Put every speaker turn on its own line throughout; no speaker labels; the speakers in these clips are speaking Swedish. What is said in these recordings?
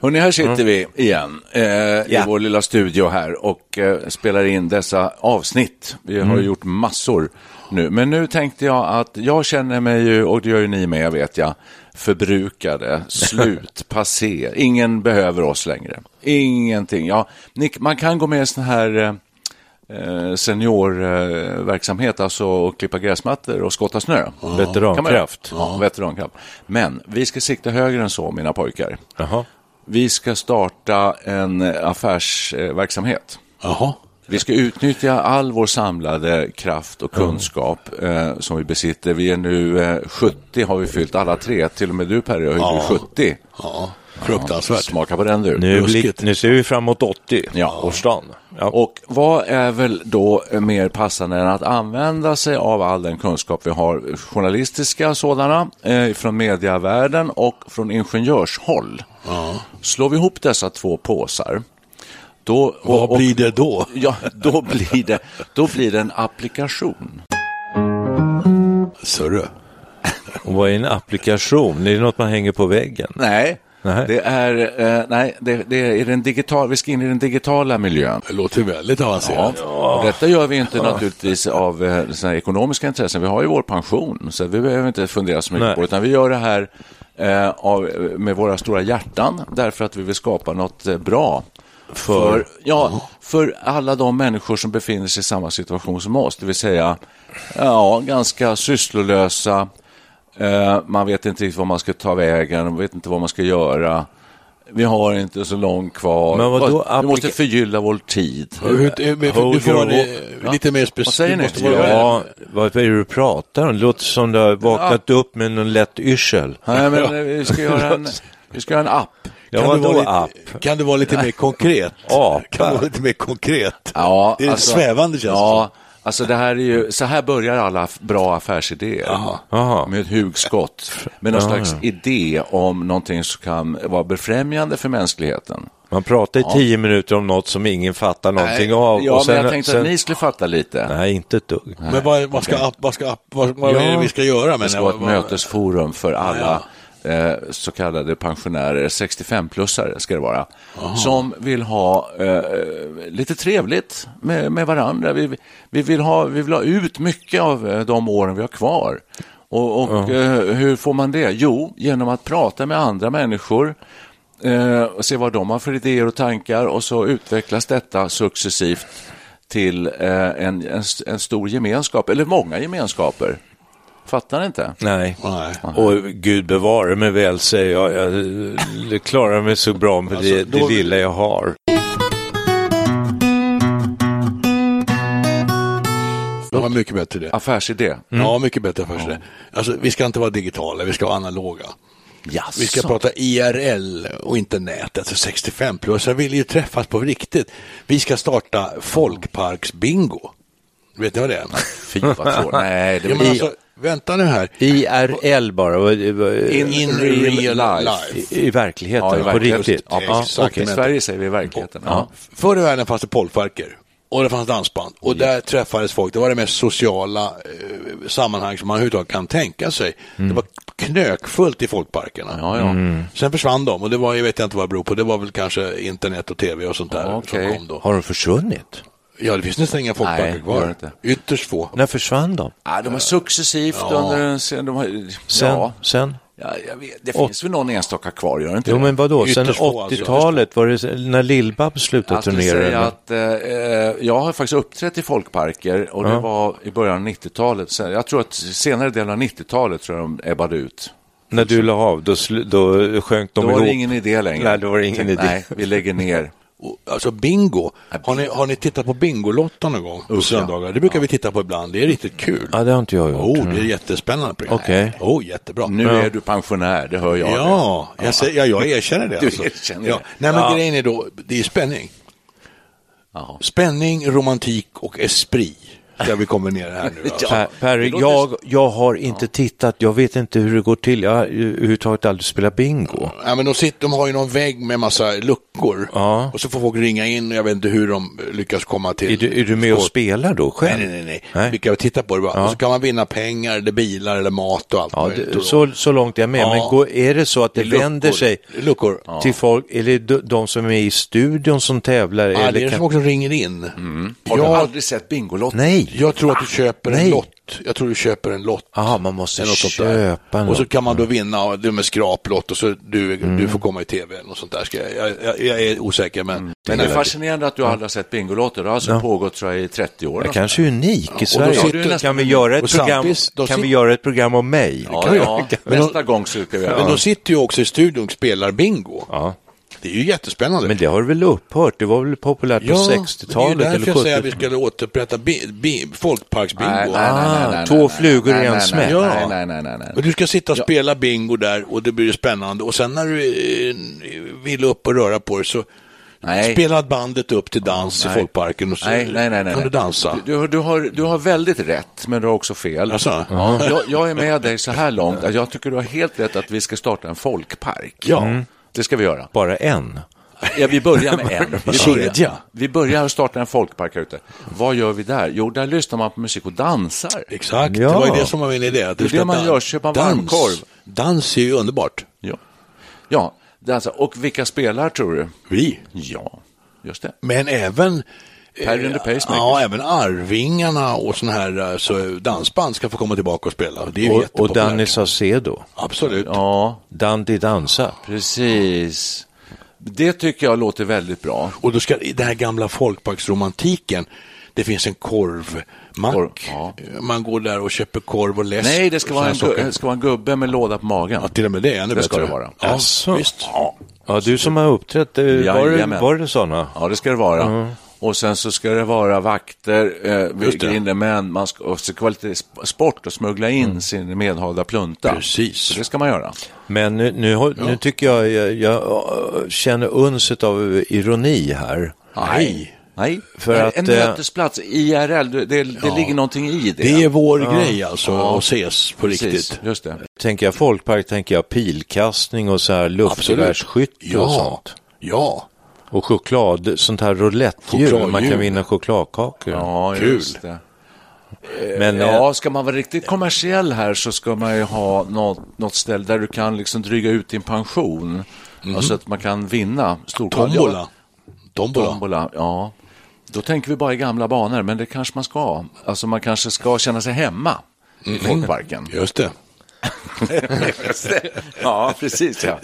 Hörrni, här sitter vi igen eh, i vår lilla studio här och eh, spelar in dessa avsnitt. Vi har ju gjort massor nu, men nu tänkte jag att jag känner mig ju, och det gör ju ni med vet jag, förbrukade, slut, passé. Ingen behöver oss längre. Ingenting. Ja, ni, man kan gå med i sån här eh, seniorverksamhet, alltså att klippa gräsmattor och skotta snö.
Veterankraft.
Kan man göra. Ja, veterankraft. Men vi ska sikta högre än så, mina pojkar.
Jaha.
Vi ska starta en eh, affärsverksamhet.
Jaha.
Vi ska utnyttja all vår samlade kraft och kunskap eh, som vi besitter. Vi är nu eh, 70, har vi fyllt alla tre. Till och med du Per, jag är
Ja.
ju 70.
Ja, fruktansvärt.
Smaka på den du.
Nu,
Ruskigt.
blick, nu ser vi framåt 80, ja. årsdagen. Ja.
Och vad är väl då mer passande än att använda sig av all den kunskap vi har, journalistiska sådana, eh, från mediavärlden och från ingenjörshåll. Slår vi ihop dessa två påsar, då, och-
Vad
och-
blir det då?
Ja, då blir det, då blir det en applikation.
Sörre.
Och vad är en applikation? Är det något man hänger på väggen?
Nej,
Nej.
det är, eh, nej, det, det är den digital, vi ska in i den digitala miljön.
Det låter väldigt
Ja.
avancerat.
Och Detta gör vi inte naturligtvis av eh, såna här ekonomiska intressen. Vi har ju vår pension, så vi behöver inte fundera så mycket
Nej.
på det, utan vi gör det här eh, av, med våra stora hjärtan därför att vi vill skapa något eh, bra. För,
Oh.
ja, för alla de människor som befinner sig i samma situation som oss, det vill säga ja, ganska sysslolösa, eh, man vet inte riktigt vad man ska ta vägen, man vet inte vad man ska göra. Vi har inte så långt kvar.
Men vadå,
vi måste
applica-
förgylla vår tid.
Du, du, du, du
Hold
får
your
vara
walk.
eh, lite mer
Vad säger
specifik.
ni?
Du måste vara
Ja, vad är det du pratar om? Det låter som du har vaknat upp med någon lätt yrsel.
Nej, men eh, vi ska göra en, vi ska göra en app.
Ja,
Kan, du
vadå
vara
app?
lite, kan du vara lite mer konkret?
Apa.
Kan du vara lite mer konkret?
Ja, alltså-
det är svävande känns det
ja, alltså det här är ju, så här börjar alla aff- bra affärsidéer.
Jaha.
Med ett hugskott, med någon slags idé om någonting som kan vara befrämjande för mänskligheten.
Man pratar i tio minuter om något som ingen fattar någonting
Nej,
av.
ja,
och sen-
men jag tänkte
sen-
att ni skulle fatta lite.
Nej, inte ett dugg.
Men vad, vad, ska, app- vad, ska, app- vad, vad är det vi ska göra? Men,
det ska vara ett
vad-
mötesforum för alla eh, så kallade pensionärer, 65-plussare ska det vara, som vill ha eh, lite trevligt med, med varandra. Vi, vi, vill ha, vi vill ha ut mycket av eh, de åren vi har kvar. Och, och eh, hur får man det? Jo, genom att prata med andra människor eh, och se vad de har för idéer och tankar och så utvecklas detta successivt till eh, en, en, en stor gemenskap, eller många gemenskaper. Fattar ni inte?
Nej.
Nej.
Och gud bevare mig väl, säger jag. Jag klarar mig så bra med det,
Alltså,
det
då-
lilla jag har.
Det var mycket bättre det.
Affärsidé.
Mm.
Ja, mycket bättre först det. Alltså, vi ska inte vara digitala, vi ska vara analoga.
Jaså.
Vi ska prata IRL och inte nätet. Så 65 plus, jag vill ju träffas på riktigt. Vi ska starta folkparksbingo. Vet ni vad det är?
Fy vad svårt. Nej, det
Ja, men alltså, vänta nu här.
IRL bara, vad- vad-
In, real life.
i, i verkligheten,
Ja, i verkligheten.
på riktigt.
Ja, precis.
exakt.
Okej, I Sverige säger vi i verkligheten. Ja.
Förr i världen fanns det polkparker och det fanns dansband och där träffades folk. Det var det mest sociala eh, sammanhang som man överhuvudtaget kan tänka sig. Det var knökfullt i folkparkerna.
Mm.
Mm.
Ja, ja.
Sen försvann de och det var, jag vet inte vad det beror på, det var väl kanske internet och tv och sånt där
Okej.
som kom då.
Har de försvunnit?
Ja, det finns nästan inga folkparker
Nej, gör det
kvar.
inte.
Ytterst få.
När försvann de?
Ja, de har successivt under den sen, de har,
Sen?
ja,
sen?
ja, jag vet, det finns väl någon enstaka kvar, gör det inte
Jo
det?
men vadå, sen
Ytterst få, alltså.
80-talet, var det när Lill-Babs slutade
Jag skulle
turnera?
säga
eller?
att eh, eh, jag har faktiskt uppträtt i folkparker och det var i början av 90-talet. Sen- Jag tror att senare delen av 90-talet tror jag de ebbade ut.
När du la av, då, sl- då sjönk de
Då
ihop?
var det ingen idé längre.
Nej, då var det ingen
Tänkte,
idé.
Nej, vi lägger ner.
Och, Alltså bingo. Har ni, har ni tittat på Bingolotto någon gång på söndagar? Det brukar vi titta på ibland. Det är riktigt kul.
Ja, det har inte jag gjort.
Oh, det är jättespännande program.
Mm. Okej.
Oh, jättebra.
Nu är du pensionär, det hör jag.
Ja, jag, säger, ja, jag erkänner det.
Du
alltså.
erkänner
ja.
det.
Nej, men
Ja.
grejen är då, det är spänning.
Ja.
Spänning, romantik och esprit. Där vi kommer ner här nu. Alltså.
Per, Perry,
låter-
jag, jag har inte tittat, jag vet inte hur det går till. Jag har ju överhuvudtaget aldrig spelat bingo.
Ja, men de, sitter, de har ju någon vägg med massa luckor
Ja.
och så får folk ringa in och jag vet inte hur de lyckas komma till.
Är du, är du med och spelar då själv?
Nej, nej, nej. nej.
Nej.
Vi kan väl titta på det bara. Och så kan man vinna pengar eller bilar eller mat och allt
Ja,
möjligt.
det,
Och-
så, så långt är jag med,
Ja.
men går, är det så att det
Luckor.
vänder sig
Luckor. Ja.
till folk, är det de- de som är i studion som tävlar?
Ja, det
eller
är de
kan... Mm.
som också ringer in.
Har du
Jag,
aldrig sett Bingolotto?
Nej,
jag tror att du köper en
Nej.
lott. Jag tror du köper en lott.
Jaha, man måste
Eller något sånt där.
köpa en
Och
lott.
så
Mm.
kan man då vinna och det är med skraplott och så du, du får komma i tv eller något sånt där. Ska jag, jag, jag, jag är osäker men.
Men det är fascinerande att du aldrig har sett Bingolotto. Det har alltså pågått tror jag, i 30 år.
jag kanske är unik i Sverige.
sitter-
kan vi göra
och
ett program,
samtidigt- då
kan vi
sit-
göra ett program om mig?
Ja,
kan vi göra.
ja.
Men
Nästa
de-
gång så brukar vi
Men de sitter ju också i studion och spelar bingo.
Ja.
Det är ju jättespännande.
Men det har väl upphört? Det var väl populärt på
men det
60-talet
är ju
eller
därför jag säger att vi
70-talet?
skulle återupprätta bi- bi- folkparksbingo.
Nej, nej, nej, nej, nej,
Ah, två
nej,
flugor i
nej,
en
nej,
smäll.
Nej,
Ja.
nej, nej, nej, nej.
Och du ska sitta och spela bingo där och det blir spännande och sen när du eh, vill upp och röra på dig så
Nej.
spelar bandet upp till dans i
Nej.
folkparken och så
nej, nej, nej, nej.
kan du dansa.
Du, du, du, har, du har väldigt rätt, men du har också fel.
Alltså?
Ja. Jag, jag är med dig så här långt. att Jag tycker du har helt rätt att vi ska starta en folkpark. Mm.
Ja.
Det ska vi göra.
Bara en?
Ja, vi börjar med en. Vi
Kedja.
börjar, vi börjar och startar en folkpark här ute. Vad gör vi där? Jo, där lyssnar man på musik och dansar.
Exakt,
Ja.
det var ju det som var min idé. Att du
Det är
ska
det man
dan-
gör, köpa
dans.
varmkorv.
Dans är ju underbart.
Ja, ja dansar. och vilka spelar tror du?
Vi.
Ja, just det.
Men även eh,
Perry and the Pacemakers.
Ja, även Arvingarna och sådana här eh, så dansband ska få komma tillbaka och spela. Det är ju
Och, och
jättepopulärt.
Danny Saucedo?
Absolut.
Ja,
Dandy dansar?
precis. Det tycker jag låter väldigt bra.
Och då ska i den här gamla folkparksromantiken, det finns en korvmack.
Korv, ja.
Man går där och köper korv och läsk.
Nej, det ska,
och
vara en,
såna
gu-
här
det
saker.
ska vara en gubbe med låda på magen.
Ja, till och med det är ännu
Det
bättre.
ska det vara.
Ja,
Jaså?
visst.
Ja, du som har uppträtt, eh, var det,
Jajamän.
var det sådana?
Ja, det ska det vara. Och sen så ska det vara vakter, eh,
Just det.
grindemän, man ska, och så ska det vara lite sp- sport och smuggla in sin medhavda plunta.
Precis.
Så det ska man göra.
Men nu, nu, har- nu tycker jag, jag jag äh, känner unset av ironi här.
Nej.
Nej,
För
Nej,
att,
en
eh,
mötesplats, IRL, du- det, det ligger någonting i det.
Det är vår grej alltså, att ses på
Precis,
riktigt.
just det.
Tänker jag folkpark, tänker jag pilkastning och så här luftgevärsskytte och
Ja.
sånt.
Ja.
Och choklad, sånt här roulettehjul, man
Chokladdjur.
kan vinna chokladkakor.
Ja,
Kul.
just det.
Men eh,
Ja, ska man vara riktigt kommersiell här så ska man ju ha något, något ställe där du kan liksom dryga ut din pension. Alltså att man kan vinna storkolla.
Tombola. Tombola.
Tombola, ja. Då tänker vi bara i gamla banor, men det kanske man ska. Alltså man kanske ska känna sig hemma
Mm.
i folkparken.
Just det.
ja, precis. Ja.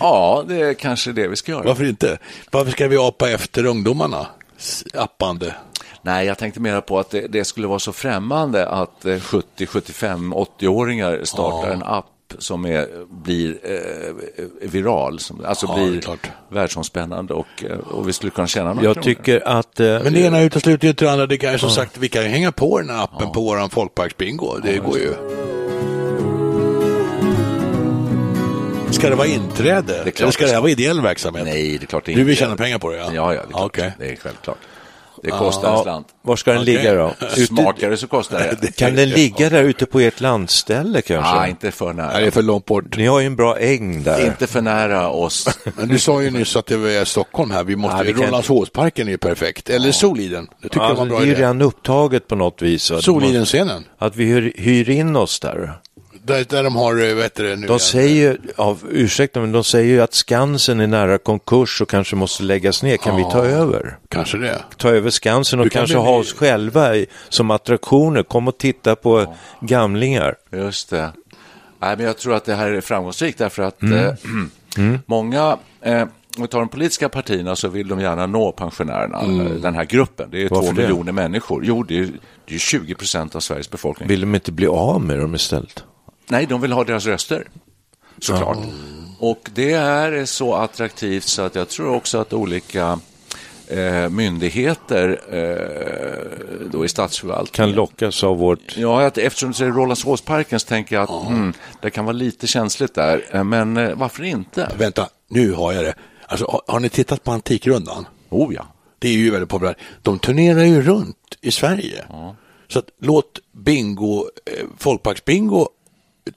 ja, det är kanske det vi ska göra.
Varför inte? Varför ska vi apa efter ungdomarna? S- Appande.
Nej, jag tänkte mer på att det, det skulle vara så främmande att eh, 70, 75, 80-åringar startar en app som är, blir eh, viral, som, alltså
Ja, det är
blir
klart.
världsomspännande och, eh, och vi skulle kunna tjäna några
jag
kronor.
tycker att... eh,
Men det ena utesluter ju inte det andra. Det kan ju som sagt, vi kan ju hänga på den här appen på våran folkparksbingo. Det går ju. Ska det vara inträde?
klart
Eller ska
det
det
ska.
här vara ideell verksamhet?
Nej, det är klart det
Du vill
inte.
tjäna pengar på det? Ja,
Ja, ja, det är, klart.
Okej. Ah.
det är självklart. Det kostar en
ja,
slant.
var ska den
Okej.
ligga då? Ute,
Smakar det så kostar det.
kan den ligga där ute på ert landställe kanske?
Ah, inte för
Nej, det är
nära.
för långt bort.
Ni har ju en bra äng där.
Inte för nära oss.
Men du sa ju nyss att det var Stockholm här. Vi måste
Ja, vi kan-
Rålambshovsparken är ju perfekt. Eller Soliden. Det tycker jag var
Alltså,
en
det
bra
är ju
idé.
redan upptaget på något vis. va? Det måste-
Solidenscenen.
Att vi hyr, hyr in oss där.
Där, där de har, eh, vad heter det nu igen?
De säger ju, ja, ursäkta, men de säger ju att Skansen är nära konkurs och kanske måste läggas ner. Kan vi ta över?
Kanske det.
Ta över Skansen och
Du kan
kanske
bli-
ha oss själva i, som attraktioner. Kom och titta på gamlingar.
Just det. Nej, men jag tror att det här är framgångsrikt därför att eh, många, eh, om vi tar de politiska partierna så vill de gärna nå pensionärerna, eh, den här gruppen. Det är
Varför
två
det?
miljoner människor. Jo, det är, det är 20 procent av Sveriges befolkning.
Vill de inte bli av med dem istället?
Nej, de vill ha deras röster, såklart. Och det här är så attraktivt så att jag tror också att olika eh, myndigheter eh, då i statsförvaltningen
Kan lockas av vårt...
Ja, att eftersom du säger Rolands Råsparken så tänker jag att mm, det kan vara lite känsligt där, Eh, men eh, varför inte?
Vänta, nu har jag det. Alltså, har, har ni tittat på Antikrundan?
Oh ja.
Det är ju väldigt populärt. De turnerar ju runt i Sverige. Så att, låt bingo, eh, folkparksbingo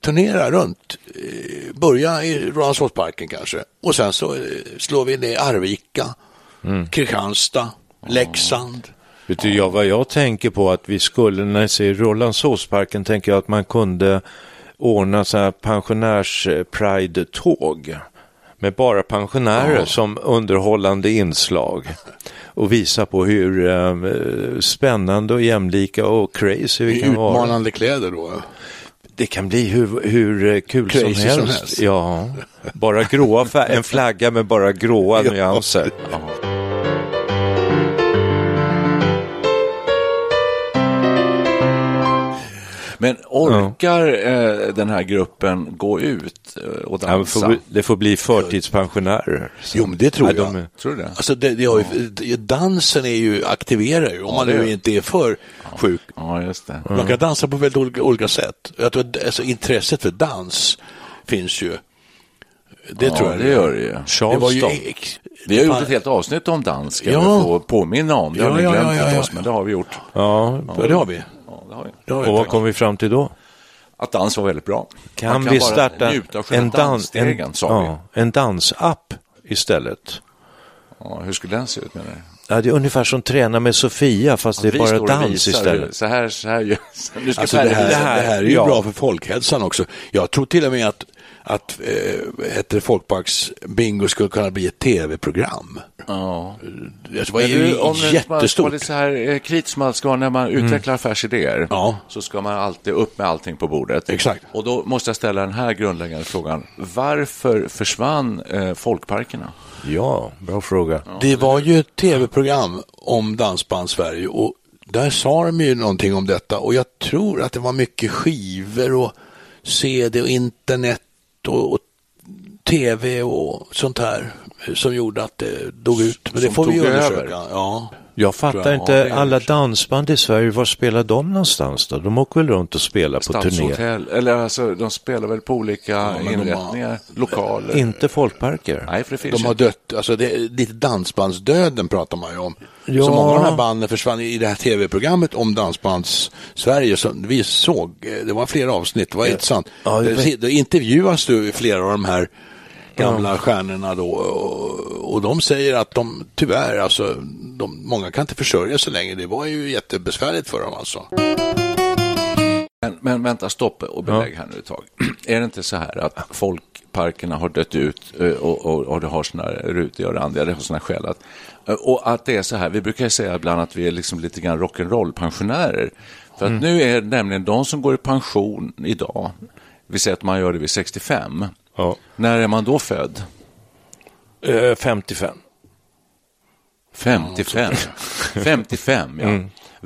turnera runt. Eh, börja i Rålambshovsparken kanske. Och sen så eh, slår vi ner Arvika,
Mm.
Kristianstad, Leksand.
Vet du jag, vad jag tänker på att vi skulle, när jag ser Rålambshovsparken, tänker jag att man kunde ordna så här pensionärs-pride-tåg med bara pensionärer som underhållande inslag och visa på hur eh, spännande och jämlika och crazy vi
I
kan vara.
utmanande kläder då.
Det kan bli hur, hur eh, kul som
Crazy som
helst.
helst.
Ja, bara gråa fär- en flagga med bara gråa nyanser.
Men orkar eh, den här gruppen gå ut eh, och
Ja, men
dansa?
får, det får bli förtidspensionärer. Så-
Jo, men det tror
Nej,
jag.
de är-
Tror du det?
Alltså det, det har ju, det- dansen är ju, aktiverar ju, om man
det är-
nu inte är för sjuk.
Ja, just det.
Man kan dansa på väldigt olika, olika sätt. Jag tror, att- alltså, intresset för dans finns ju. Det
Ja,
tror jag
det gör det ju.
Charleston.
ex-
Vi har
fan-
gjort ett helt avsnitt om dans, ska
Ja.
vi få påminna om. Det har
Ja,
ni
ja,
glömt
ja, ja,
förstås,
ja.
men det har vi gjort.
Ja,
Ja, det har vi.
Ja, det har vi.
Det har vi.
och vad kom vi fram till då?
Att dans var väldigt bra.
Kan,
Man
vi
bara
starta
njuta av själva
en, dans, en,
dansstegen, sa vi.
ja, en dansapp istället?
Ja, hur skulle den se ut menar du?
Ja, det är ungefär som träna med Sofia fast det
Vi
är bara
står och
dans
visar hur-
istället.
Så här, så här gör Nu ska
Alltså,
Per
det, här, det,
visa.
här, är ju
ja.
bra för folkhälsan också. Jag tror till och med att, att eh, heter det folkparksbingo skulle kunna bli ett tv-program.
Ja.
Alltså, det är
Men du,
ju
om man ska
jättestort. Mm.
vara lite så här eh, kritisk som man ska vara när man utvecklar affärsidéer
Ja.
så ska man alltid upp med allting på bordet.
Exakt.
Och då måste jag ställa den här grundläggande frågan. Varför försvann eh, folkparkerna?
Ja, bra fråga.
Det var ju ett tv-program om Dansband Sverige och där sa de ju någonting om detta och jag tror att det var mycket skivor och CD och internet och, och tv och sånt här som gjorde att det dog ut. Men det
Som
får vi ju
tog över.
undersöka. Ja.
Jag
Tror
fattar
jag, ja, det
inte,
är
alla dansband i Sverige, var spelar de någonstans då? De åker väl runt och spelar på turné?
Stadshotell? Eller alltså, de spelar väl på olika
men de har-
inrättningar, lokaler?
Inte folkparker?
Nej, för det finns
De har
ju-
dött, alltså det, är lite dansbandsdöden pratar man ju om.
Ja.
Så många av de här banden försvann i det här tv-programmet om Dansbands-Sverige som vi såg. eh, Det var flera avsnitt, det var intressant.
Ja, det-
det, då intervjuas du flera av de här gamla stjärnorna då och, och de säger att de tyvärr, alltså de, många kan inte försörja sig längre. Det var ju jättebesvärligt för dem alltså.
Men, men vänta, stopp och belägg här nu ett tag. Är det inte så här att folkparkerna har dött ut eh, och, och, och det har sina rutiga och randiga, det har sina skäl att... eh, Och att det är så här, vi brukar ju säga ibland att vi är liksom lite grann rock'n'roll-pensionärer. För att nu är det nämligen de som går i pension idag, vi säger att man gör det vid 65.
Ja.
När är man då född?
Eh, 55.
55. 55, ja.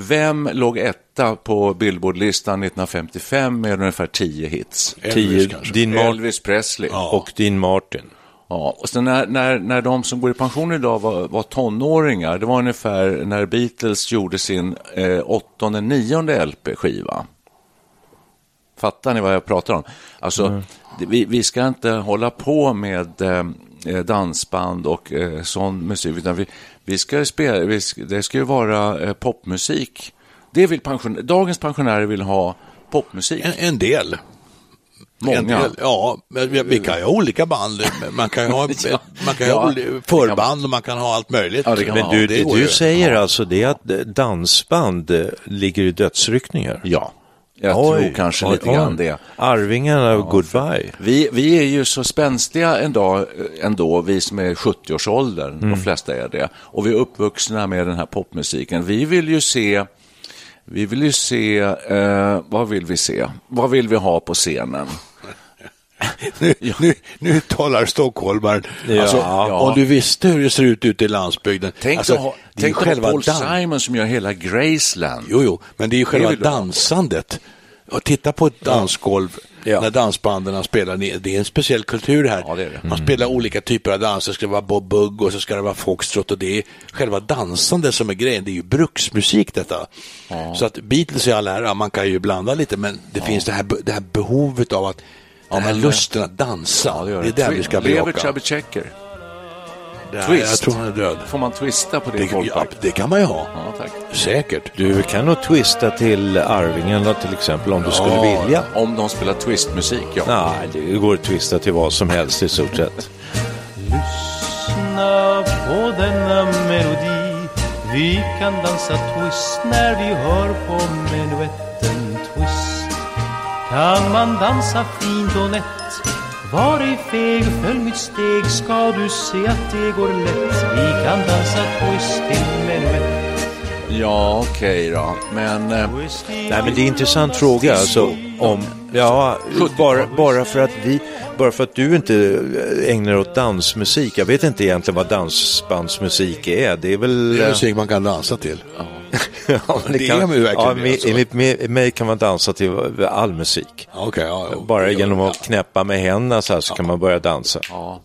Vem låg etta på Billboardlistan 1955 med ungefär 10 hits?
Elvis
10,
kanske.
din Mar-
Elvis Presley.
och din Martin.
Ja, och sen när, när, när de som går i pension idag var, var tonåringar, det var ungefär när Beatles gjorde sin eh, åttonde, nionde LP-skiva. Fattar ni vad jag pratar om? Alltså,
Mm.
det- vi, vi ska inte hålla på med eh, dansband och eh, sån musik, utan vi, vi ska ju spela, vi ska, det ska ju vara eh, popmusik. Det vill pension, dagens pensionärer vill ha popmusik.
En, en del. En
Många.
del, ja, men vi, vi kan ju ha olika band. men Man kan ju ha,
Ja.
man kan ju
Ja,
ha
det kan
förband och man kan ha allt möjligt.
Ja, det kan
Men
man
du,
det
det
går
du
ju.
säger alltså det är att eh, dansband eh, ligger i dödsryckningar?
Ja. Jag
Oj,
tror kanske
oj,
lite
oj.
grann det.
Arvingarna av Goodbye.
Vi, vi är ju så spänstiga en dag, eh, ändå, vi som är 70-årsåldern,
Mm.
de flesta är det, och vi är uppvuxna med den här popmusiken. Vi vill ju se, vi vill ju se, eh, vad vill vi se? Vad vill vi ha på scenen?
Nu, nu, nu talar stockholmaren.
Ja.
Alltså,
Ja.
Om du visste hur det ser ut ute i landsbygden.
Tänk
alltså,
att ha,
det är ju
tänk att ha
själva
Paul
dans...
Simon som gör hela Graceland.
Jo, jo, men det är ju själva
vill du ha.
dansandet. Och titta på ett dansgolv
Ja.
när dansbanden spelar. Det det är en speciell kultur här.
Ja, det är det. Mm.
Man spelar olika typer av danser. Det ska vara bob bugg och så ska det vara foxtrot. Och det är själva dansandet som är grejen. Det är ju bruksmusik detta. Så att Beatles i all ära, man kan ju blanda lite, men det finns det här, be- det här behovet av att den
eh,
här lusten att dansa, det, är där vi ska
Lever
bejaka.
Chubby Checker?
Nej,
Twist.
Jag tror han är död.
Får man twista på det,
Det, ja,
folkpark?
det kan man ju ha.
Ja, tack.
Säkert.
Du kan nog twista till Arvingarna till exempel om du skulle vilja.
Om de spelar twistmusik, ja.
Nej, det går att twista till vad som helst i stort sett.
Lyssna på denna melodi Vi kan dansa twist när vi hör på menuetten twist Kan man dansa fint och nätt Var ej feg, följ mitt steg Ska du se att det går lätt Vi kan dansa twist till menuett
Ja, okej då. Men eh,
Twist i
Nej, men det är en intressant fråga alltså om... Ja, bara, bara, för att vi, bara för att du inte eh, ägnar dig åt dansmusik. Jag vet inte egentligen vad dansbandsmusik är. Det är väl... eh,
Det är musik man kan dansa till.
Ja, men
Det är man ju verkligen
ja,
det, alltså.
me- Enligt me- mig kan man dansa till all musik.
Okej, ja, Oh, ja.
Bara genom att knäppa med händerna så här så kan man börja dansa.
Ja.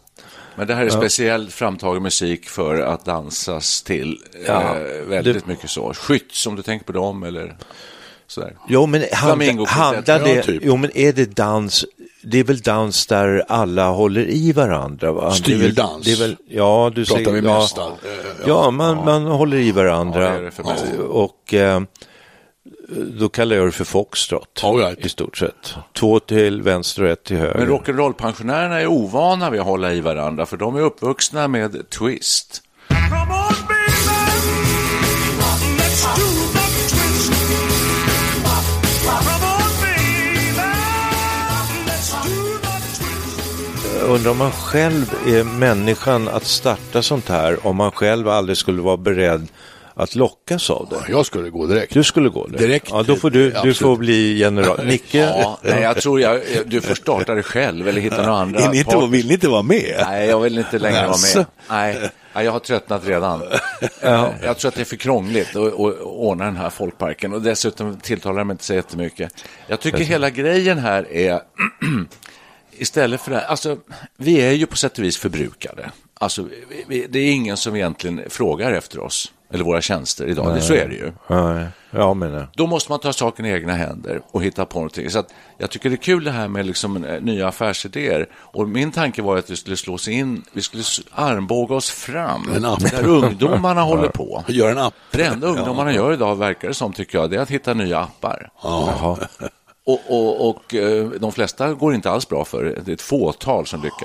Men det här är speciellt framtagen musik för att dansas till.
Ja.
Eh, väldigt mycket så. Skytt, om du tänker på dem eller sådär.
Jo, men handla,
Flamingokvintetten,
handlar
ja,
det...
typ.
Jo, men är det dans... Det är väl dans där alla håller i varandra? Va? Det är väl-
Styrdans.
Det är väl, ja, du
Pratar
säger...
vi
ja,
mest all- eh,
ja, man, man håller i varandra.
Ja, det är det för mig.
Och eh, då kallar jag det för foxtrot.
All right.
I stort sett. Två till vänster och ett till höger.
Men rock'n'roll-pensionärerna är ovana vid att hålla i varandra för de är uppvuxna med twist.
Come on, baby. Let's do the twist. Come on, baby. Let's do the twist.
Undrar om man själv är människan att starta sånt här om man själv aldrig skulle vara beredd att lockas av det.
Jag skulle gå direkt.
Du skulle gå det.
Direkt.
Ja, då får du, du
Absolut.
får bli general. Nicke?
Ja, nej, jag tror jag, du får starta det själv eller hitta några andra.
Vill ni inte,
partners.
vill ni inte vara med?
Nej, jag vill inte längre vara
Alltså.
med. Nej, nej, jag har tröttnat redan. Eh, Jag tror att det är för krångligt att att ordna den här folkparken och dessutom tilltalar de inte så jättemycket. Jag tycker hela grejen här är, istället för det här, alltså vi är ju på sätt och vis förbrukade. Alltså, vi, vi, det är ingen som egentligen frågar efter oss eller våra tjänster idag, Det- så är det ju.
Nej, jag menar.
Då måste man ta saken i egna händer och hitta på någonting. Så att jag tycker det är kul det här med liksom eh, nya affärsidéer. Och min tanke var att vi skulle slå oss in, vi skulle s- armbåga oss fram
En app.
där ungdomarna håller på.
Gör en app.
Det enda ungdomarna gör idag, verkar det som, tycker jag, det är att hitta nya appar.
Jaha.
Och, och, och eh, de flesta går inte alls bra för det. Det är ett fåtal som lyckas.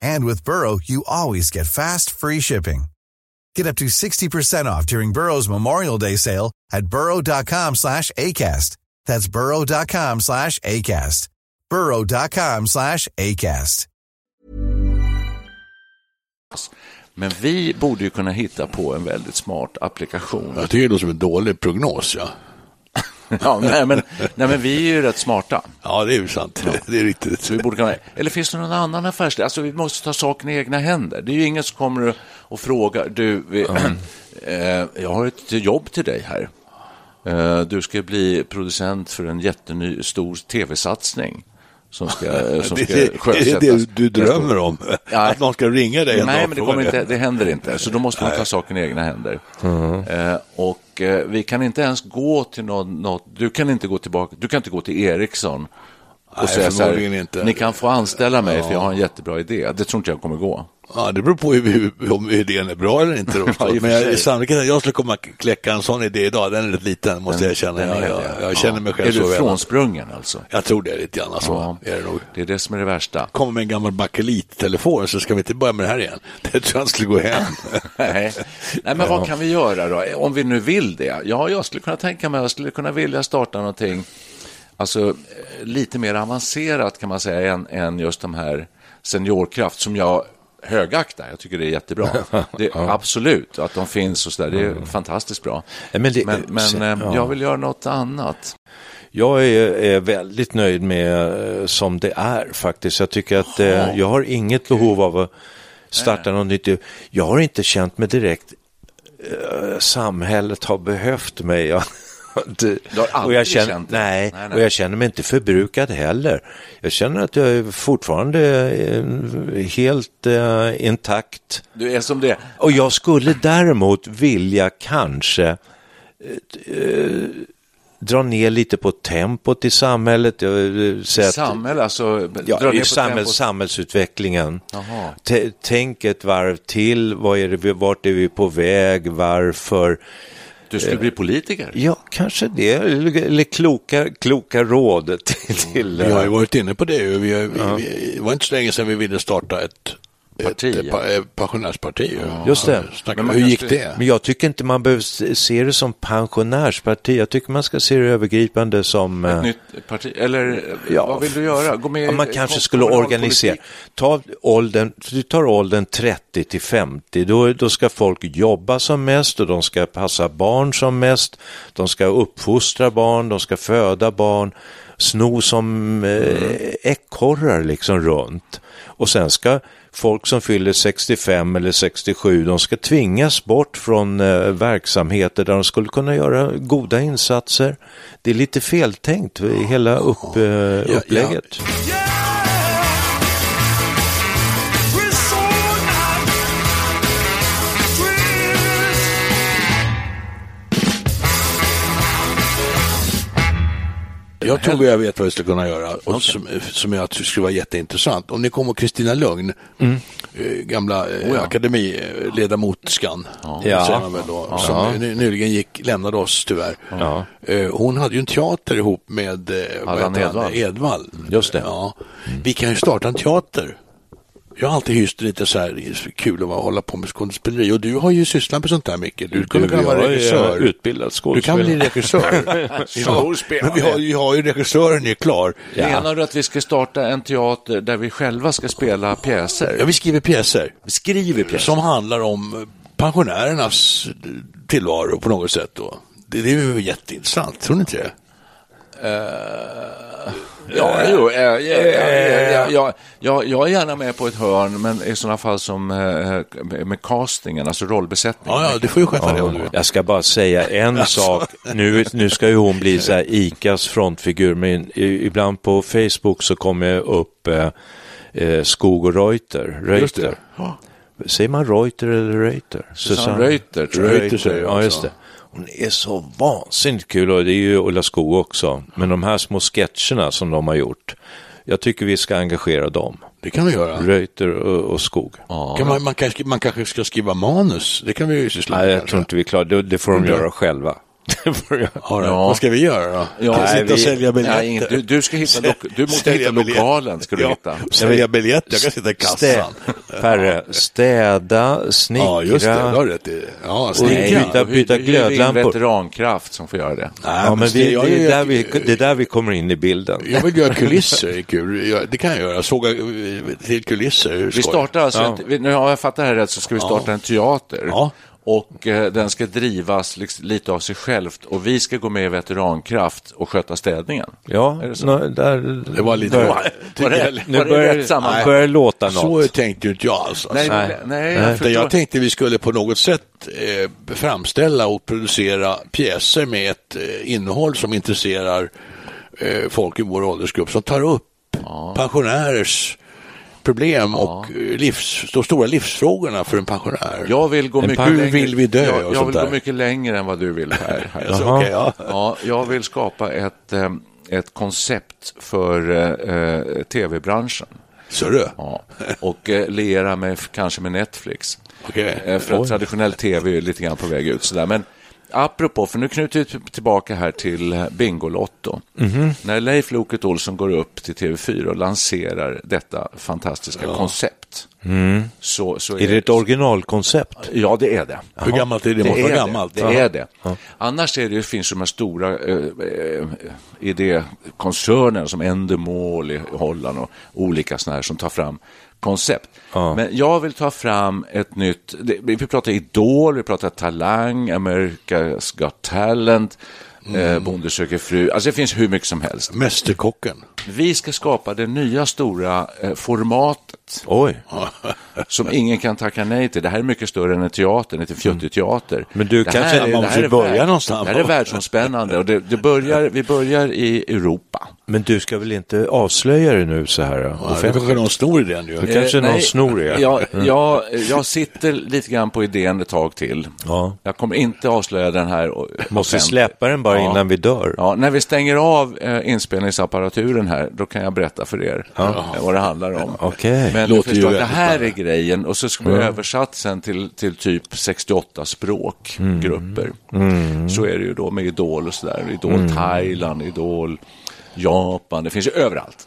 And with Burrow, you always get fast, free shipping. Get up to 60% off during Burrow's Memorial Day sale at burrow.com slash ACAST. That's burrow.com slash ACAST. burrow.com slash ACAST.
Men vi borde ju kunna hitta på en väldigt smart applikation.
Jag tycker det låter som en dålig prognos. Ja,
Ja, nej, men, nej, men vi är ju rätt smarta.
ja det är ju sant. Det är riktigt.
Så vi borde kunna, eller finns det någon annan affärsidé? Alltså, vi måste ta saken i egna händer. Det är ju ingen som kommer och- och frågar, du, vi, eh, jag har ett jobb till dig här. Eh, du ska bli producent för en jätteny stor tv-satsning som ska, eh, som
Det
ska
är det, är
sjösättas.
det du drömmer om,
Ja.
att någon ska ringa dig en dag
Nej,
och
men det,
fråga
kommer
dig.
inte, det händer inte. Så då måste man ta saken i egna händer. Eh, och eh, vi kan inte ens gå till någon, något, du kan inte gå tillbaka, du kan inte gå till Ericsson och
Nej,
säga så
förmodligen
här,
inte.
ni kan få anställa mig för jag har en jättebra idé. Det tror inte jag kommer gå.
Ja, det beror på hur, hur, om idén är bra eller inte. Då,
Ja, i och
men
för
jag,
sig.
sannolikheten att jag skulle komma att kläcka en sån idé idag, den är rätt liten måste jag erkänna.
Den är
Jag, jag,
det.
jag känner mig själv
Är
så
du
väl.
frånsprungen alltså?
Jag tror det är lite grann så. Är det nog.
det är det som är det värsta.
Kommer med en gammal bakelittelefon så ska vi inte börja med det här igen. Det tror jag inte skulle gå hem.
Nej. Nej, men vad kan vi göra då? Eh, Om vi nu vill det. Ja, jag skulle kunna tänka mig, jag skulle kunna vilja starta någonting alltså, eh, lite mer avancerat kan man säga än, än just de här seniorkraft som jag högaktar. Jag tycker det är jättebra. Det, Absolut, att de finns och så där. Det är fantastiskt bra.
Nej, men Mm. det-
men, men,
sen-
eh,
ja.
jag vill göra något annat.
Jag är, är väldigt nöjd med eh, som det är faktiskt. Jag tycker att eh, jag har inget behov av att starta något nytt. Jag har inte känt mig direkt, eh, samhället har behövt mig. Jag, det,
Du har aldrig känt det?
nej,
Nej,
nej,
nej.
och jag känner mig inte förbrukad heller. Jag känner att jag är fortfarande eh, helt eh, intakt.
Du är som det.
Och jag skulle däremot vilja kanske eh, eh, dra ner lite på tempot i samhället. Jag, eh, säger att-
Samhälle, alltså. dra
Ja,
ner
i
på
samhälls,
tempot.
samhällsutvecklingen.
Jaha.
T- Tänk ett varv till. Vad är det, vi- vart är vi på väg? Varför?
Du skulle bli politiker.
Ja, kanske det. Eller eller kloka, kloka råd till... till
Vi har ju
eh,
varit inne på det. ju. Vi, har- vi, vi, det var inte så länge sedan vi ville starta ett,
Parti,
ett,
ja.
pa- eh, pensionärsparti. ju.
Just det.
Snacka-
Men man
hur gick
kanske-
det?
Men jag tycker inte man behöver se- se det som pensionärsparti. Jag tycker man ska se det övergripande som... eh,
nytt parti? Eller eh,
Ja.
vad vill du göra? Gå med i
Ja, man
kom-
kanske skulle
kommunal
organisera.
politik?
Ta åldern, du tar åldern 30 till 50, då, då ska folk jobba som mest och de ska passa barn som mest. De ska uppfostra barn, de ska föda barn, sno som
Mm.
eh, ekorrar liksom runt. Och sen ska folk som fyller 65 eller 67, de ska tvingas bort från eh, verksamheter där de skulle kunna göra goda insatser. Det är lite feltänkt, i hela upp, eh,
ja.
upplägget.
Jag tror jag vet vad vi skulle kunna göra och som, som jag tror skulle vara jätteintressant. Om ni kommer ihåg Kristina Lugn,
Mm.
eh, gamla eh, akademiledamotskan,
Oh Ja.
säger man väl då, som ny- nyligen gick, lämnade oss tyvärr. Eh, Hon hade ju en teater ihop med eh, vad
Allan
heter han?
Edwall.
Edvall.
Mm. Just det. Mm.
Ja. Vi kan ju starta en teater. Jag har alltid hyst lite så här det är så kul att hålla på med skådespeleri och du har ju sysslat med sånt där mycket. Du skulle kunna vara regissör.
Eh, utbildad
Du kan bli
skådespelare.
regissör. ja, men vi har, ju- har ju regissören är klar.
Menar du att vi ska starta en teater där vi själva ska spela pjäser?
Ja, vi skriver pjäser
Vi skriver pjäser.
som handlar om eh, pensionärernas eh, tillvaro på något sätt. Då. Det, det är ju jätteintressant, tror ni inte det?
Ja, jo, eh, ja, ja, ja, ja, ja, ja, jag är gärna med på ett hörn, men i sådana fall som eh, med castingen, alltså rollbesättningen.
Ja, ja, du får ju sköta det Alltså. om du vill.
Jag ska bara säga en sak. Nu, nu ska ju hon bli så här ICAs frontfigur, men i- ibland på Facebook så kommer jag upp eh, eh, Skog och Reuter.
Just det.
Reuter. Säger man Reuter eller Reuter? Susanne
Reuter, tror jag.
Reuter säger jag
Ja,
också.
just det. Hon är så vansinnigt kul och det är ju Ulla Skog också. Men de här små sketcherna som de har gjort, jag tycker vi ska engagera dem.
Det kan vi göra.
Reuter och, och Skog.
Kan man, man, kanske, man kanske ska skriva manus, det kan vi ju syssla
Nej,
med.
jag tror
kanske. Mm.
inte vi klarar det. Det får de göra själva.
All right. Vad ska vi göra då?
Ja,
Kan vi
nej,
sitta och
vi-
sälja biljetter?
nej, inte- du- du ska hitta lo- du måste
Sälja
hitta
biljetter.
lokalen, ska du
ja,
hitta.
och Sälja biljetter, jag kan sitta i kassan.
Stä- Perre, städa, snickra.
Ja, just det, du har rätt i. Ja,
Nej,
snickra.
byta-
då hy-
byta
hyr vi in
glödlampor.
veterankraft som får göra det.
Nej,
Ja, men
ska
vi,
jag
det, är
göra-
där vi, det är där vi kommer in i bilden.
Jag vill göra kulisser, det är kul. Jag- Det kan jag göra, såga eh, till kulisser. hur
Vi
skoj.
startar alltså, ett, vi- nu har jag fattat det här rätt, så ska vi starta en teater.
Ja.
Och eh, den ska drivas liksom lite av sig självt och vi ska gå med i veterankraft och sköta städningen.
Ja,
Är det så?
nå- där,
Det var lite...
Bör-
Var det,
nu
var det rätt samman?
börjar, börjar det låta
Så
något.
tänkte ju inte jag alls.
Nej,
Alltså.
nej, nej, jag
Utan
förstår.
jag tänkte vi skulle på något sätt eh, framställa och producera pjäser med ett eh, innehåll som intresserar eh, folk i vår åldersgrupp som tar upp pensionärers problem och eh, livs, de stora livsfrågorna för en pensionär.
Jag vill gå
Men
mycket
hur
längre.
vill vi dö
Jag,
och
jag
sånt
vill
där.
gå mycket längre än vad du vill Per. här.
Alltså,
Jaha.
okej, ja.
Ja, jag vill skapa ett, eh, ett koncept för eh, eh, tv-branschen.
Så du?
Ja. Och eh, liera mig f- kanske med Netflix.
Okej.
Eh, För att traditionell tv är lite grann på väg ut. Sådär. Men apropå, för nu knyter vi t- tillbaka här till eh, Bingolotto.
Mhm.
När Leif Loket Olsson går upp till TV4 och lanserar detta fantastiska koncept. Så, så
Mm. Är det ett originalkoncept?
Ja, det är det.
Hur gammalt är det? Det måste vara gammalt.
Det, det är det. Annars är det, finns de här stora eh, eh, idékoncerner som Endemol i Holland och olika sådana här som tar fram koncept. Men jag vill ta fram ett nytt, det, vi pratar Idol, vi pratar Talang, America's Got Talent, eh,
Mm.
Bonde söker fru, alltså det finns hur mycket som helst.
Mästerkocken.
Vi ska skapa det nya stora eh, formatet
Oj.
som ingen kan tacka nej till. Det här är mycket större än en teater, en liten fjuttig teater.
Mm. Men du,
det
kanske- man
måste
är
ju börja
värld-
någonstans.
Det här är världsomspännande och det, det börjar, vi börjar i Europa.
Men du ska väl inte avslöja det nu så här? då?
Ja, det kanske någon snor i den ju.
Det kanske
Eh,
någon snor er. Mm.
jag, jag, jag sitter lite grann på idén ett tag till.
Ja.
Jag kommer inte avslöja den här. o-
Måste
offentligt.
släppa den bara
Ja.
innan vi dör.
Ja, när vi stänger av eh, inspelningsapparaturen här, då kan jag berätta för er eh, vad det handlar om.
Okej.
Men
Låter
du förstår,
ju
det
väldigt Mm.
här är grejen och så ska vi översatt sen till, till typ 68 språkgrupper.
Mm.
Så är det ju då med Idol och sådär. Idol Thailand, Idol Japan, det finns ju överallt.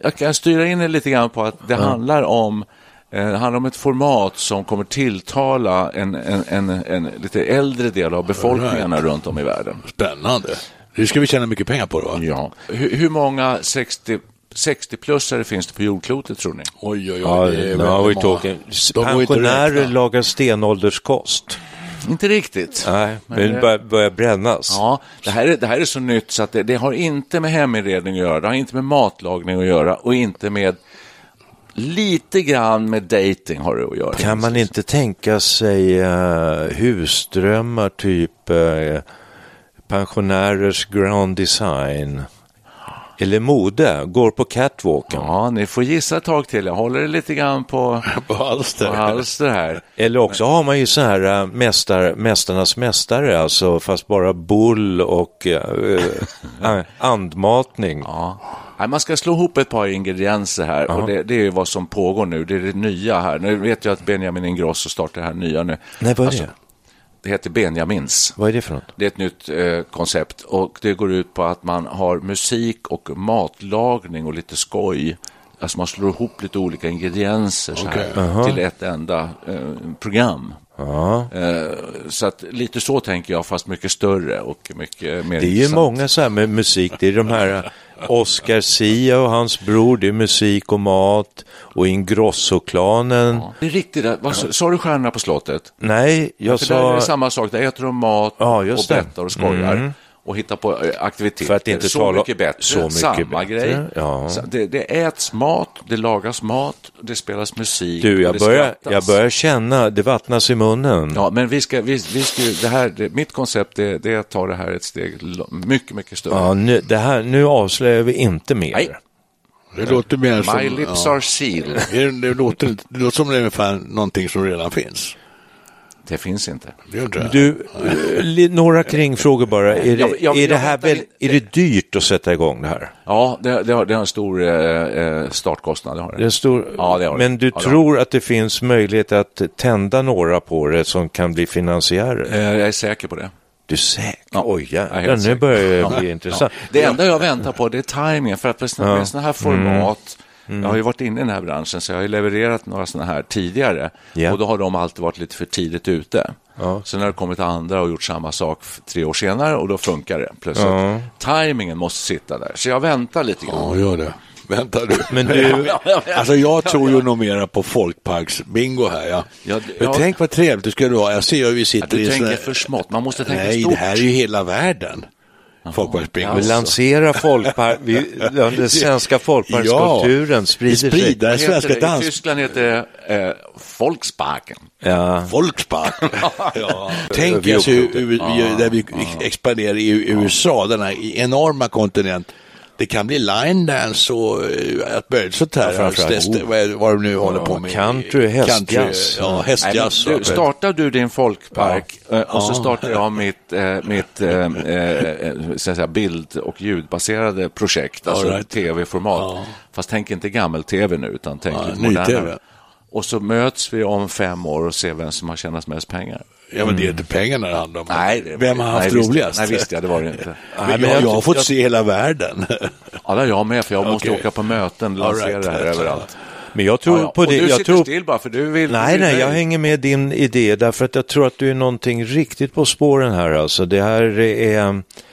Jag kan styra in er lite grann på att det handlar om eh, det handlar om ett format som kommer tilltala en, en, en, en lite äldre del av befolkningarna runt om i världen.
Spännande. Nu ska vi tjäna mycket pengar på det va?
Ja. Hur, hur många 60 60-plussare finns det på jordklotet tror ni?
Oj, oj, oj.
Ja,
det är väldigt
now we're
många.
talking.
De går inte att
Pensionärer
räkna.
lagar stenålderskost.
Inte riktigt.
Nej,
Men
men
det-
börjar, börjar brännas.
Ja, det här, är, det här är så nytt så att det, det har inte med heminredning att göra, det har inte med matlagning att göra och inte med lite grann med dating har det att göra.
Kan man inte tänka sig eh, husdrömmar, typ eh, pensionärers grand design? Eller mode, går på catwalken.
Ja, ni får gissa ett tag till. Jag håller det lite grann på,
På halster.
på halster här.
Eller också har man ju så här äh, mästar, mästarnas mästare, alltså fast bara bull och eh, eh, andmatning.
Ja. Nej, man ska slå ihop ett par ingredienser här och det, det är ju vad som pågår nu. Det är det nya här. Nu vet jag att Benjamin Ingrosso startar det här nya nu.
Nej, vad är
Alltså,
det?
Det heter Benjamins.
Vad är det för något?
Det är ett nytt eh, koncept och det går ut på att man har musik och matlagning och lite skoj. Alltså man slår ihop lite olika ingredienser så här, till ett enda eh, program. Eh, så att lite så tänker jag, fast mycket större och mycket mer
Det är ju
intressant.
många så här med musik, det är de här äh, Oscar Sia och hans bror, det är musik och mat och Ingrosso-klanen.
Ja. Det är riktigt, det- vad, sa- sa du Stjärnorna på slottet?
Nej, jag
För där är det
sa...
samma sak, där äter de mat
Alltså- Ja,
och
just det. Mm.
berättar och skojar. Och hittar på eh, aktiviteter.
För att inte
så
tala-
mycket bättre.
så mycket
samma
bättre,
grej.
ja.
Så Det, det äts mat, det lagas mat, det spelas musik.
Du,
och
jag
typ. det
börjar,
skrattas.
jag börjar känna, det vattnas i munnen.
Ja, men vi ska, vi, vi ska ju, det här, det, mitt koncept det, det är att ta det här ett steg lo- mycket, mycket större.
Ja, nu, det här, nu avslöjar vi inte mer.
Nej.
Det låter mer som...
My lips
ja.
are sealed.
Det, det, låter, inte- det låter som det är ungefär någonting som redan finns.
Det finns inte.
Det gör inte det.
Du, eh, li- några kringfrågor bara. Är
Jag-
det,
jag-
är det,
jag
här
väntar
väl,
in-
är det dyrt att sätta igång det här?
Ja, det, det, har, det har en stor eh, eh, startkostnad. Det har
Det är stor,
Ja, det har det.
men du
Ja, det har
tror att det finns möjlighet att tända några på det som kan bli finansiärer?
Eh, Jag är säker på det.
Du är säker?
Ja.
Oj,
Jag är
jävlar,
helt
nu
säker.
börjar det
Ja.
bli intressant.
Ja. Det enda jag väntar på det är tajmingen för att med såna- med sådana här format
Mm.
Jag har ju varit inne i den här branschen så jag har ju levererat några sådana här tidigare
Ja.
och då har de alltid varit lite för tidigt ute. Sen har det kommit andra och gjort samma sak f- tre år senare och då funkar det plötsligt. Timingen måste sitta där, så jag väntar lite grann.
Ja, gör det. Vänta du.
Men du-
alltså jag tror ju nog mera på folkparksbingo här. Ja.
Ja, det-
Men
ja.
tänk vad trevligt det skulle vara. Jag ser hur vi sitter
Ja, du
i... en sån
tänker
här-
för smått. Man måste tänka
Nej,
stort.
det här är ju hela världen. Folkparksbingo.
Vi lanserar folkpark, vi, den svenska folkparkskulturen sprider
vi
sig.
sprider
Vad heter
den svenska
det? I
dans...
Tyskland heter det eh, Volksparken.
Ja.
Folkspark. ja. Tänk
Vi
alltså hur,
upplevde.
hur, hur, där vi expanderar i USA, den här enorma kontinent. Det kan bli line dance och eh, allt möjligt sånt här.
Ja, framförallt.
Alltså, det- vad, är- vad de nu håller på med.
country, hästjazz.
ja,
Mm. Nej, men
hästjazz.
du, startar du din folkpark eh, och så startar jag mitt, eh, mitt eh, eh, så att säga, bild och ljudbaserade projekt, alltså
All right.
tv-format. Fast tänk inte gammel-tv nu, utan tänk
Ja,
lite
ny
modernare.
TV.
Och så möts vi om fem år och ser vem som har tjänat mest pengar.
Ja, men det är inte pengarna det handlar om.
Nej, det-
Vem har haft
nej, visst-
roligast?
nej, visst, ja, det var det inte.
Men
Nej,
men
jag,
jag-
jag har fått
jag-
se hela världen.
Ja, det har jag med, för jag måste
Okej.
åka på möten,
All
lansera
right.
det här överallt.
Men jag
Ja,
tror
ja.
på
och
det.
du
Jag
sitter
tror,
still bara, för du vill...
Nej,
du vill
nej, jag
dig.
hänger med din idé därför att jag tror att du är någonting riktigt på spåren här alltså. Det här är...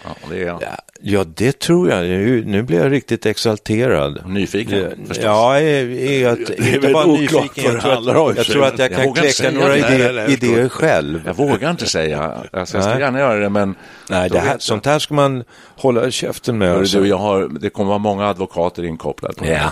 Ja, det är jag.
Ja, det tror jag. Nu, nu blir jag riktigt exalterad.
Nyfiken,
Ja,
förstås.
Ja, är, är att,
är
inte
väl
bara
oklart
nyfiken.
vad det
Jag tror
handlar om,
att, jag
så
tror att jag
jag
kan
vågar
kläcka
inte
några
säga det.
idéer,
Nej, nej, jag förstår.
idéer själv.
Jag vågar inte säga. Alltså, jag skulle
Nej.
gärna göra det, men...
Nej,
då
det här,
vet jag.
sånt här ska man hålla käften med.
Hörru,
alltså.
du, jag har, det kommer vara många advokater inkopplade på det här.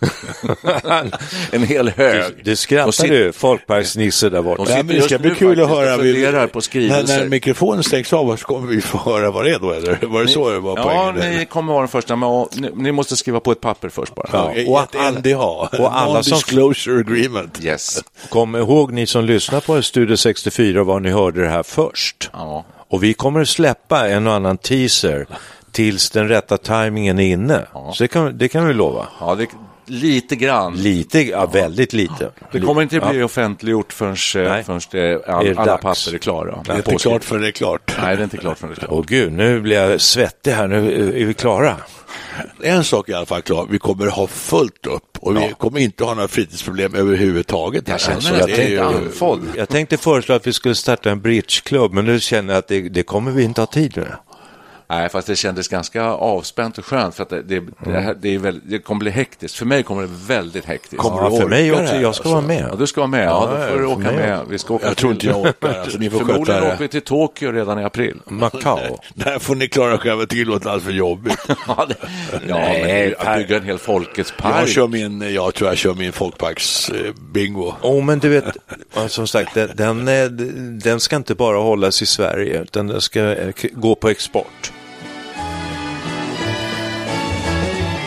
En hel hög.
Det
Och
skrattar
sit-
du, folkparksnisse där borta.
Och
Nej,
sitter
men det
just
ska
nu
bli kul att
faktiskt
höra.
och
Vi-
funderar på
när,
skrivelser.
när mikrofonen stängs av så kommer vi få höra vad det är då, eller? Var det så det var
Ja,
poängen?
ni
eller?
kommer vara de första, men ni, ni måste skriva på ett papper först bara.
Ja,
och
och ett
alla-
NDA,
och alla som-
Non-Disclosure Agreement.
Yes.
Kom ihåg ni som lyssnar på Studio 64 var ni hörde det här först.
Ja.
Och vi kommer släppa en och annan teaser tills den rätta tajmingen är inne. Så det kan, det kan vi lova.
Ja, det, lite grann.
Lite, ja, väldigt lite.
det kommer inte bli offentliggjort förrän, eh,
Nej.
förrän det,
Är
all,
det
alla
dags?
papper är klara.
Det är inte klart förrän det är klart.
Nej, det är inte klart förrän det är klart.
Åh gud, nu blir jag svettig här. Nu är vi klara.
En sak är i alla fall klar, vi kommer ha fullt upp och vi kommer inte ha några fritidsproblem överhuvudtaget.
Jag känner
Alltså,
att
det
jag
är
inte
ju-
andfådd.
Jag tänkte föreslå att vi skulle starta en bridgeklubb, men nu känner jag att det, det kommer vi inte ha tid med.
Nej, fast det kändes ganska avspänt och skönt för att det, det, det, här, det, är väl, det kommer bli hektiskt. För mig kommer det väldigt hektiskt.
Ja, för mig också. Jag ska
alltså?
vara
Ja,
med.
du ska vara med. Ja,
Ja,
då får du
för
åka
mig
med.
också.
Vi ska åka
Jag
till-
tror inte jag orkar, alltså, ni får
Förmodligen
sköta det.
åker vi till Tokyo redan i april.
Macao.
Det här får ni klara själva, det låter alldeles för jobbigt.
Ja, det, ja, men att bygga en hel Folkets
Jag,
park.
kör min, jag tror jag kör min eh, folkparksbingo.
Oh, men du vet, ja, som sagt, den- den, eh, den ska inte bara hållas i Sverige, utan den ska eh, k- gå på export.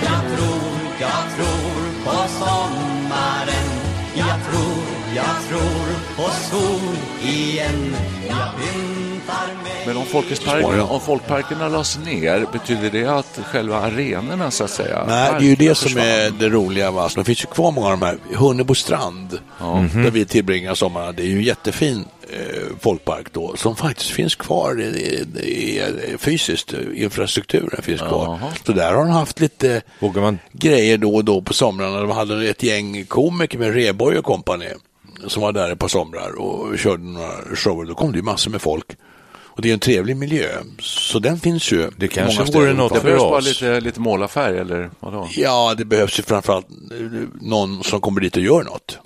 Jag tror, jag tror på sommaren Jag tror, jag tror på sol igen Jag pyntar mig
Men om, Folkets park, om folkparkerna lades ner, betyder det att själva arenorna så att säga?
Nej, det är ju det
parkerna
som
försvann?
är det roliga. Va? Alltså, det finns ju kvar många av de här. Hunnebo strand,
Mhm.
där vi tillbringar sommarna, det är ju en jättefin eh, folkpark då, som faktiskt finns kvar i, i, i, fysiskt. eh, Infrastrukturen finns kvar. Så där har de haft lite
Vågar man?
grejer då och då på somrarna. De hade ett gäng komiker med Rheborg och kompani som var där ett par somrar och körde några shower. Då kom det ju massor med folk. Och det är en trevlig miljö, så den finns ju.
Det kanske
många ställen
vore något
fortfarande.
Det behövs
för
bara
oss.
lite, lite målarfärg eller vadå?
Ja, det behövs ju framförallt eh, någon som kommer dit och gör något.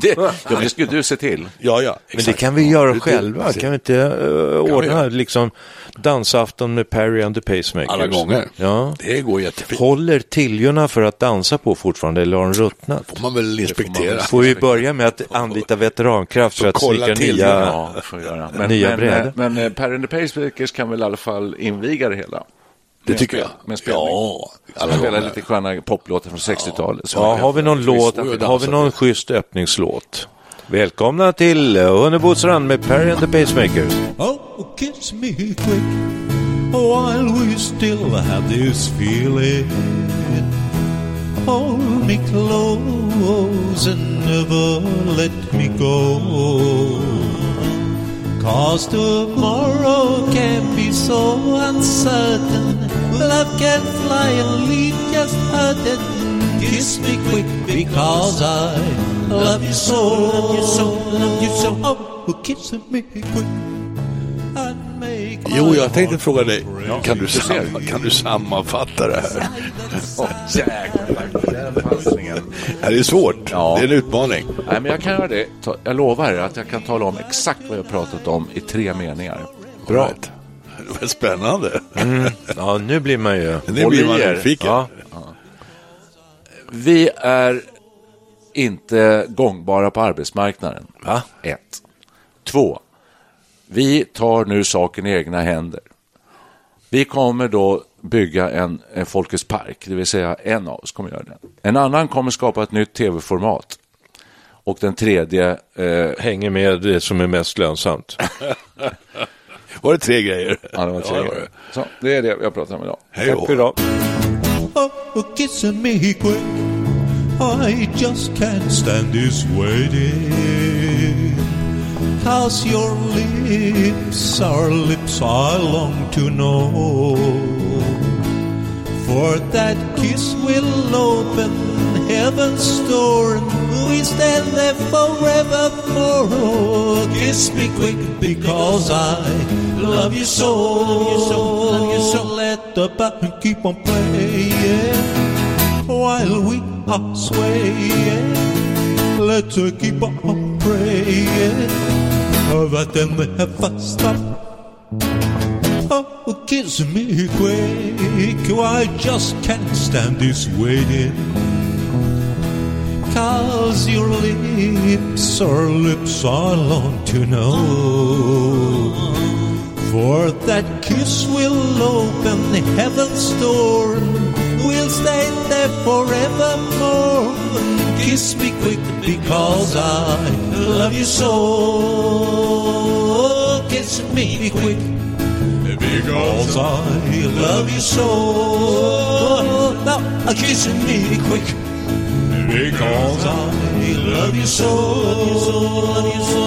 Det, ja, men det skulle du se till.
Ja, ja.
Men
exakt.
det kan vi göra
Det- det-
själva.
precis.
Kan vi inte eh,
vi
ordna
göra.
liksom dansafton med Perry and the Pacemakers?
Alla gånger.
Ja.
Det går jättefint.
Håller tiljorna för att dansa på fortfarande eller har de ruttnat?
får man väl inspektera.
Får vi börja med att anlita veterankraft för att
kolla
snickra
till
nya...
den,
Ja, det får jag göra. Men,
Nya
men,
brädor.
men, men eh, Per and the Pacemakers kan väl i alla fall inviga det hela?
Det
Med
tycker jag.
spel- Med spelning.
Ja, alla
Alla spelar
gånger.
lite sköna poplåtar från 60-talet. så
Ja,
kan-
har vi någon låt,
vi och
har vi
dansar.
någon schysst öppningslåt? Välkomna till Hunnebostrand med Perry and the Pacemakers.
Oh, kiss me quick while we still have this feeling. Hold me close and never let me go. Cause tomorrow can be so uncertain. Love can fly and leave just hurting. Kiss me quick because I love you so. Love you so, love you so. Oh, kiss me quick. and make
Jo,
my
jag tänkte
heart
fråga dig,
break.
kan du, samma, kan du sammanfatta det här? Det här är svårt,
Ja.
det är en utmaning.
Nej, men jag kan göra det. Ta- Jag lovar er att jag kan tala om exakt vad jag har pratat om i tre meningar.
Bra. Det var spännande.
Ja, nu blir man ju...
Nu blir man
Håll i er.
nyfiken.
Ja,
Vi är inte gångbara på arbetsmarknaden. Va? Ett. Två. Vi tar nu saken i egna händer. Vi kommer då bygga en, en Folkets park, det vill säga en av oss kommer göra den. En annan kommer skapa ett nytt tv-format. Och den tredje eh,
hänger med det som är mest lönsamt.
Var det tre grejer?
Ja, det var tre
det var
grejer. Så, det är det jag pratar om idag.
Hej
Tack för
då.
idag.
Oh, kiss me quick. I just can't stand this waiting. Cause your lips are lips I long to know. For that kiss will open heaven's door and we stand there forever more. Oh, kiss me quick because I love you so. Love you so, love you so. Let the button keep on playing while we are swaying. Let's keep on praying. But then we have a stop. Oh, kiss me quick. I just can't stand this waiting. Cause your lips are lips I long to know. For that kiss will open heaven's door. We'll stay there forevermore. Kiss me quick because I love you so. Kiss me quick because I love you so. Now Oh, kiss me quick because I love you so. Love you so.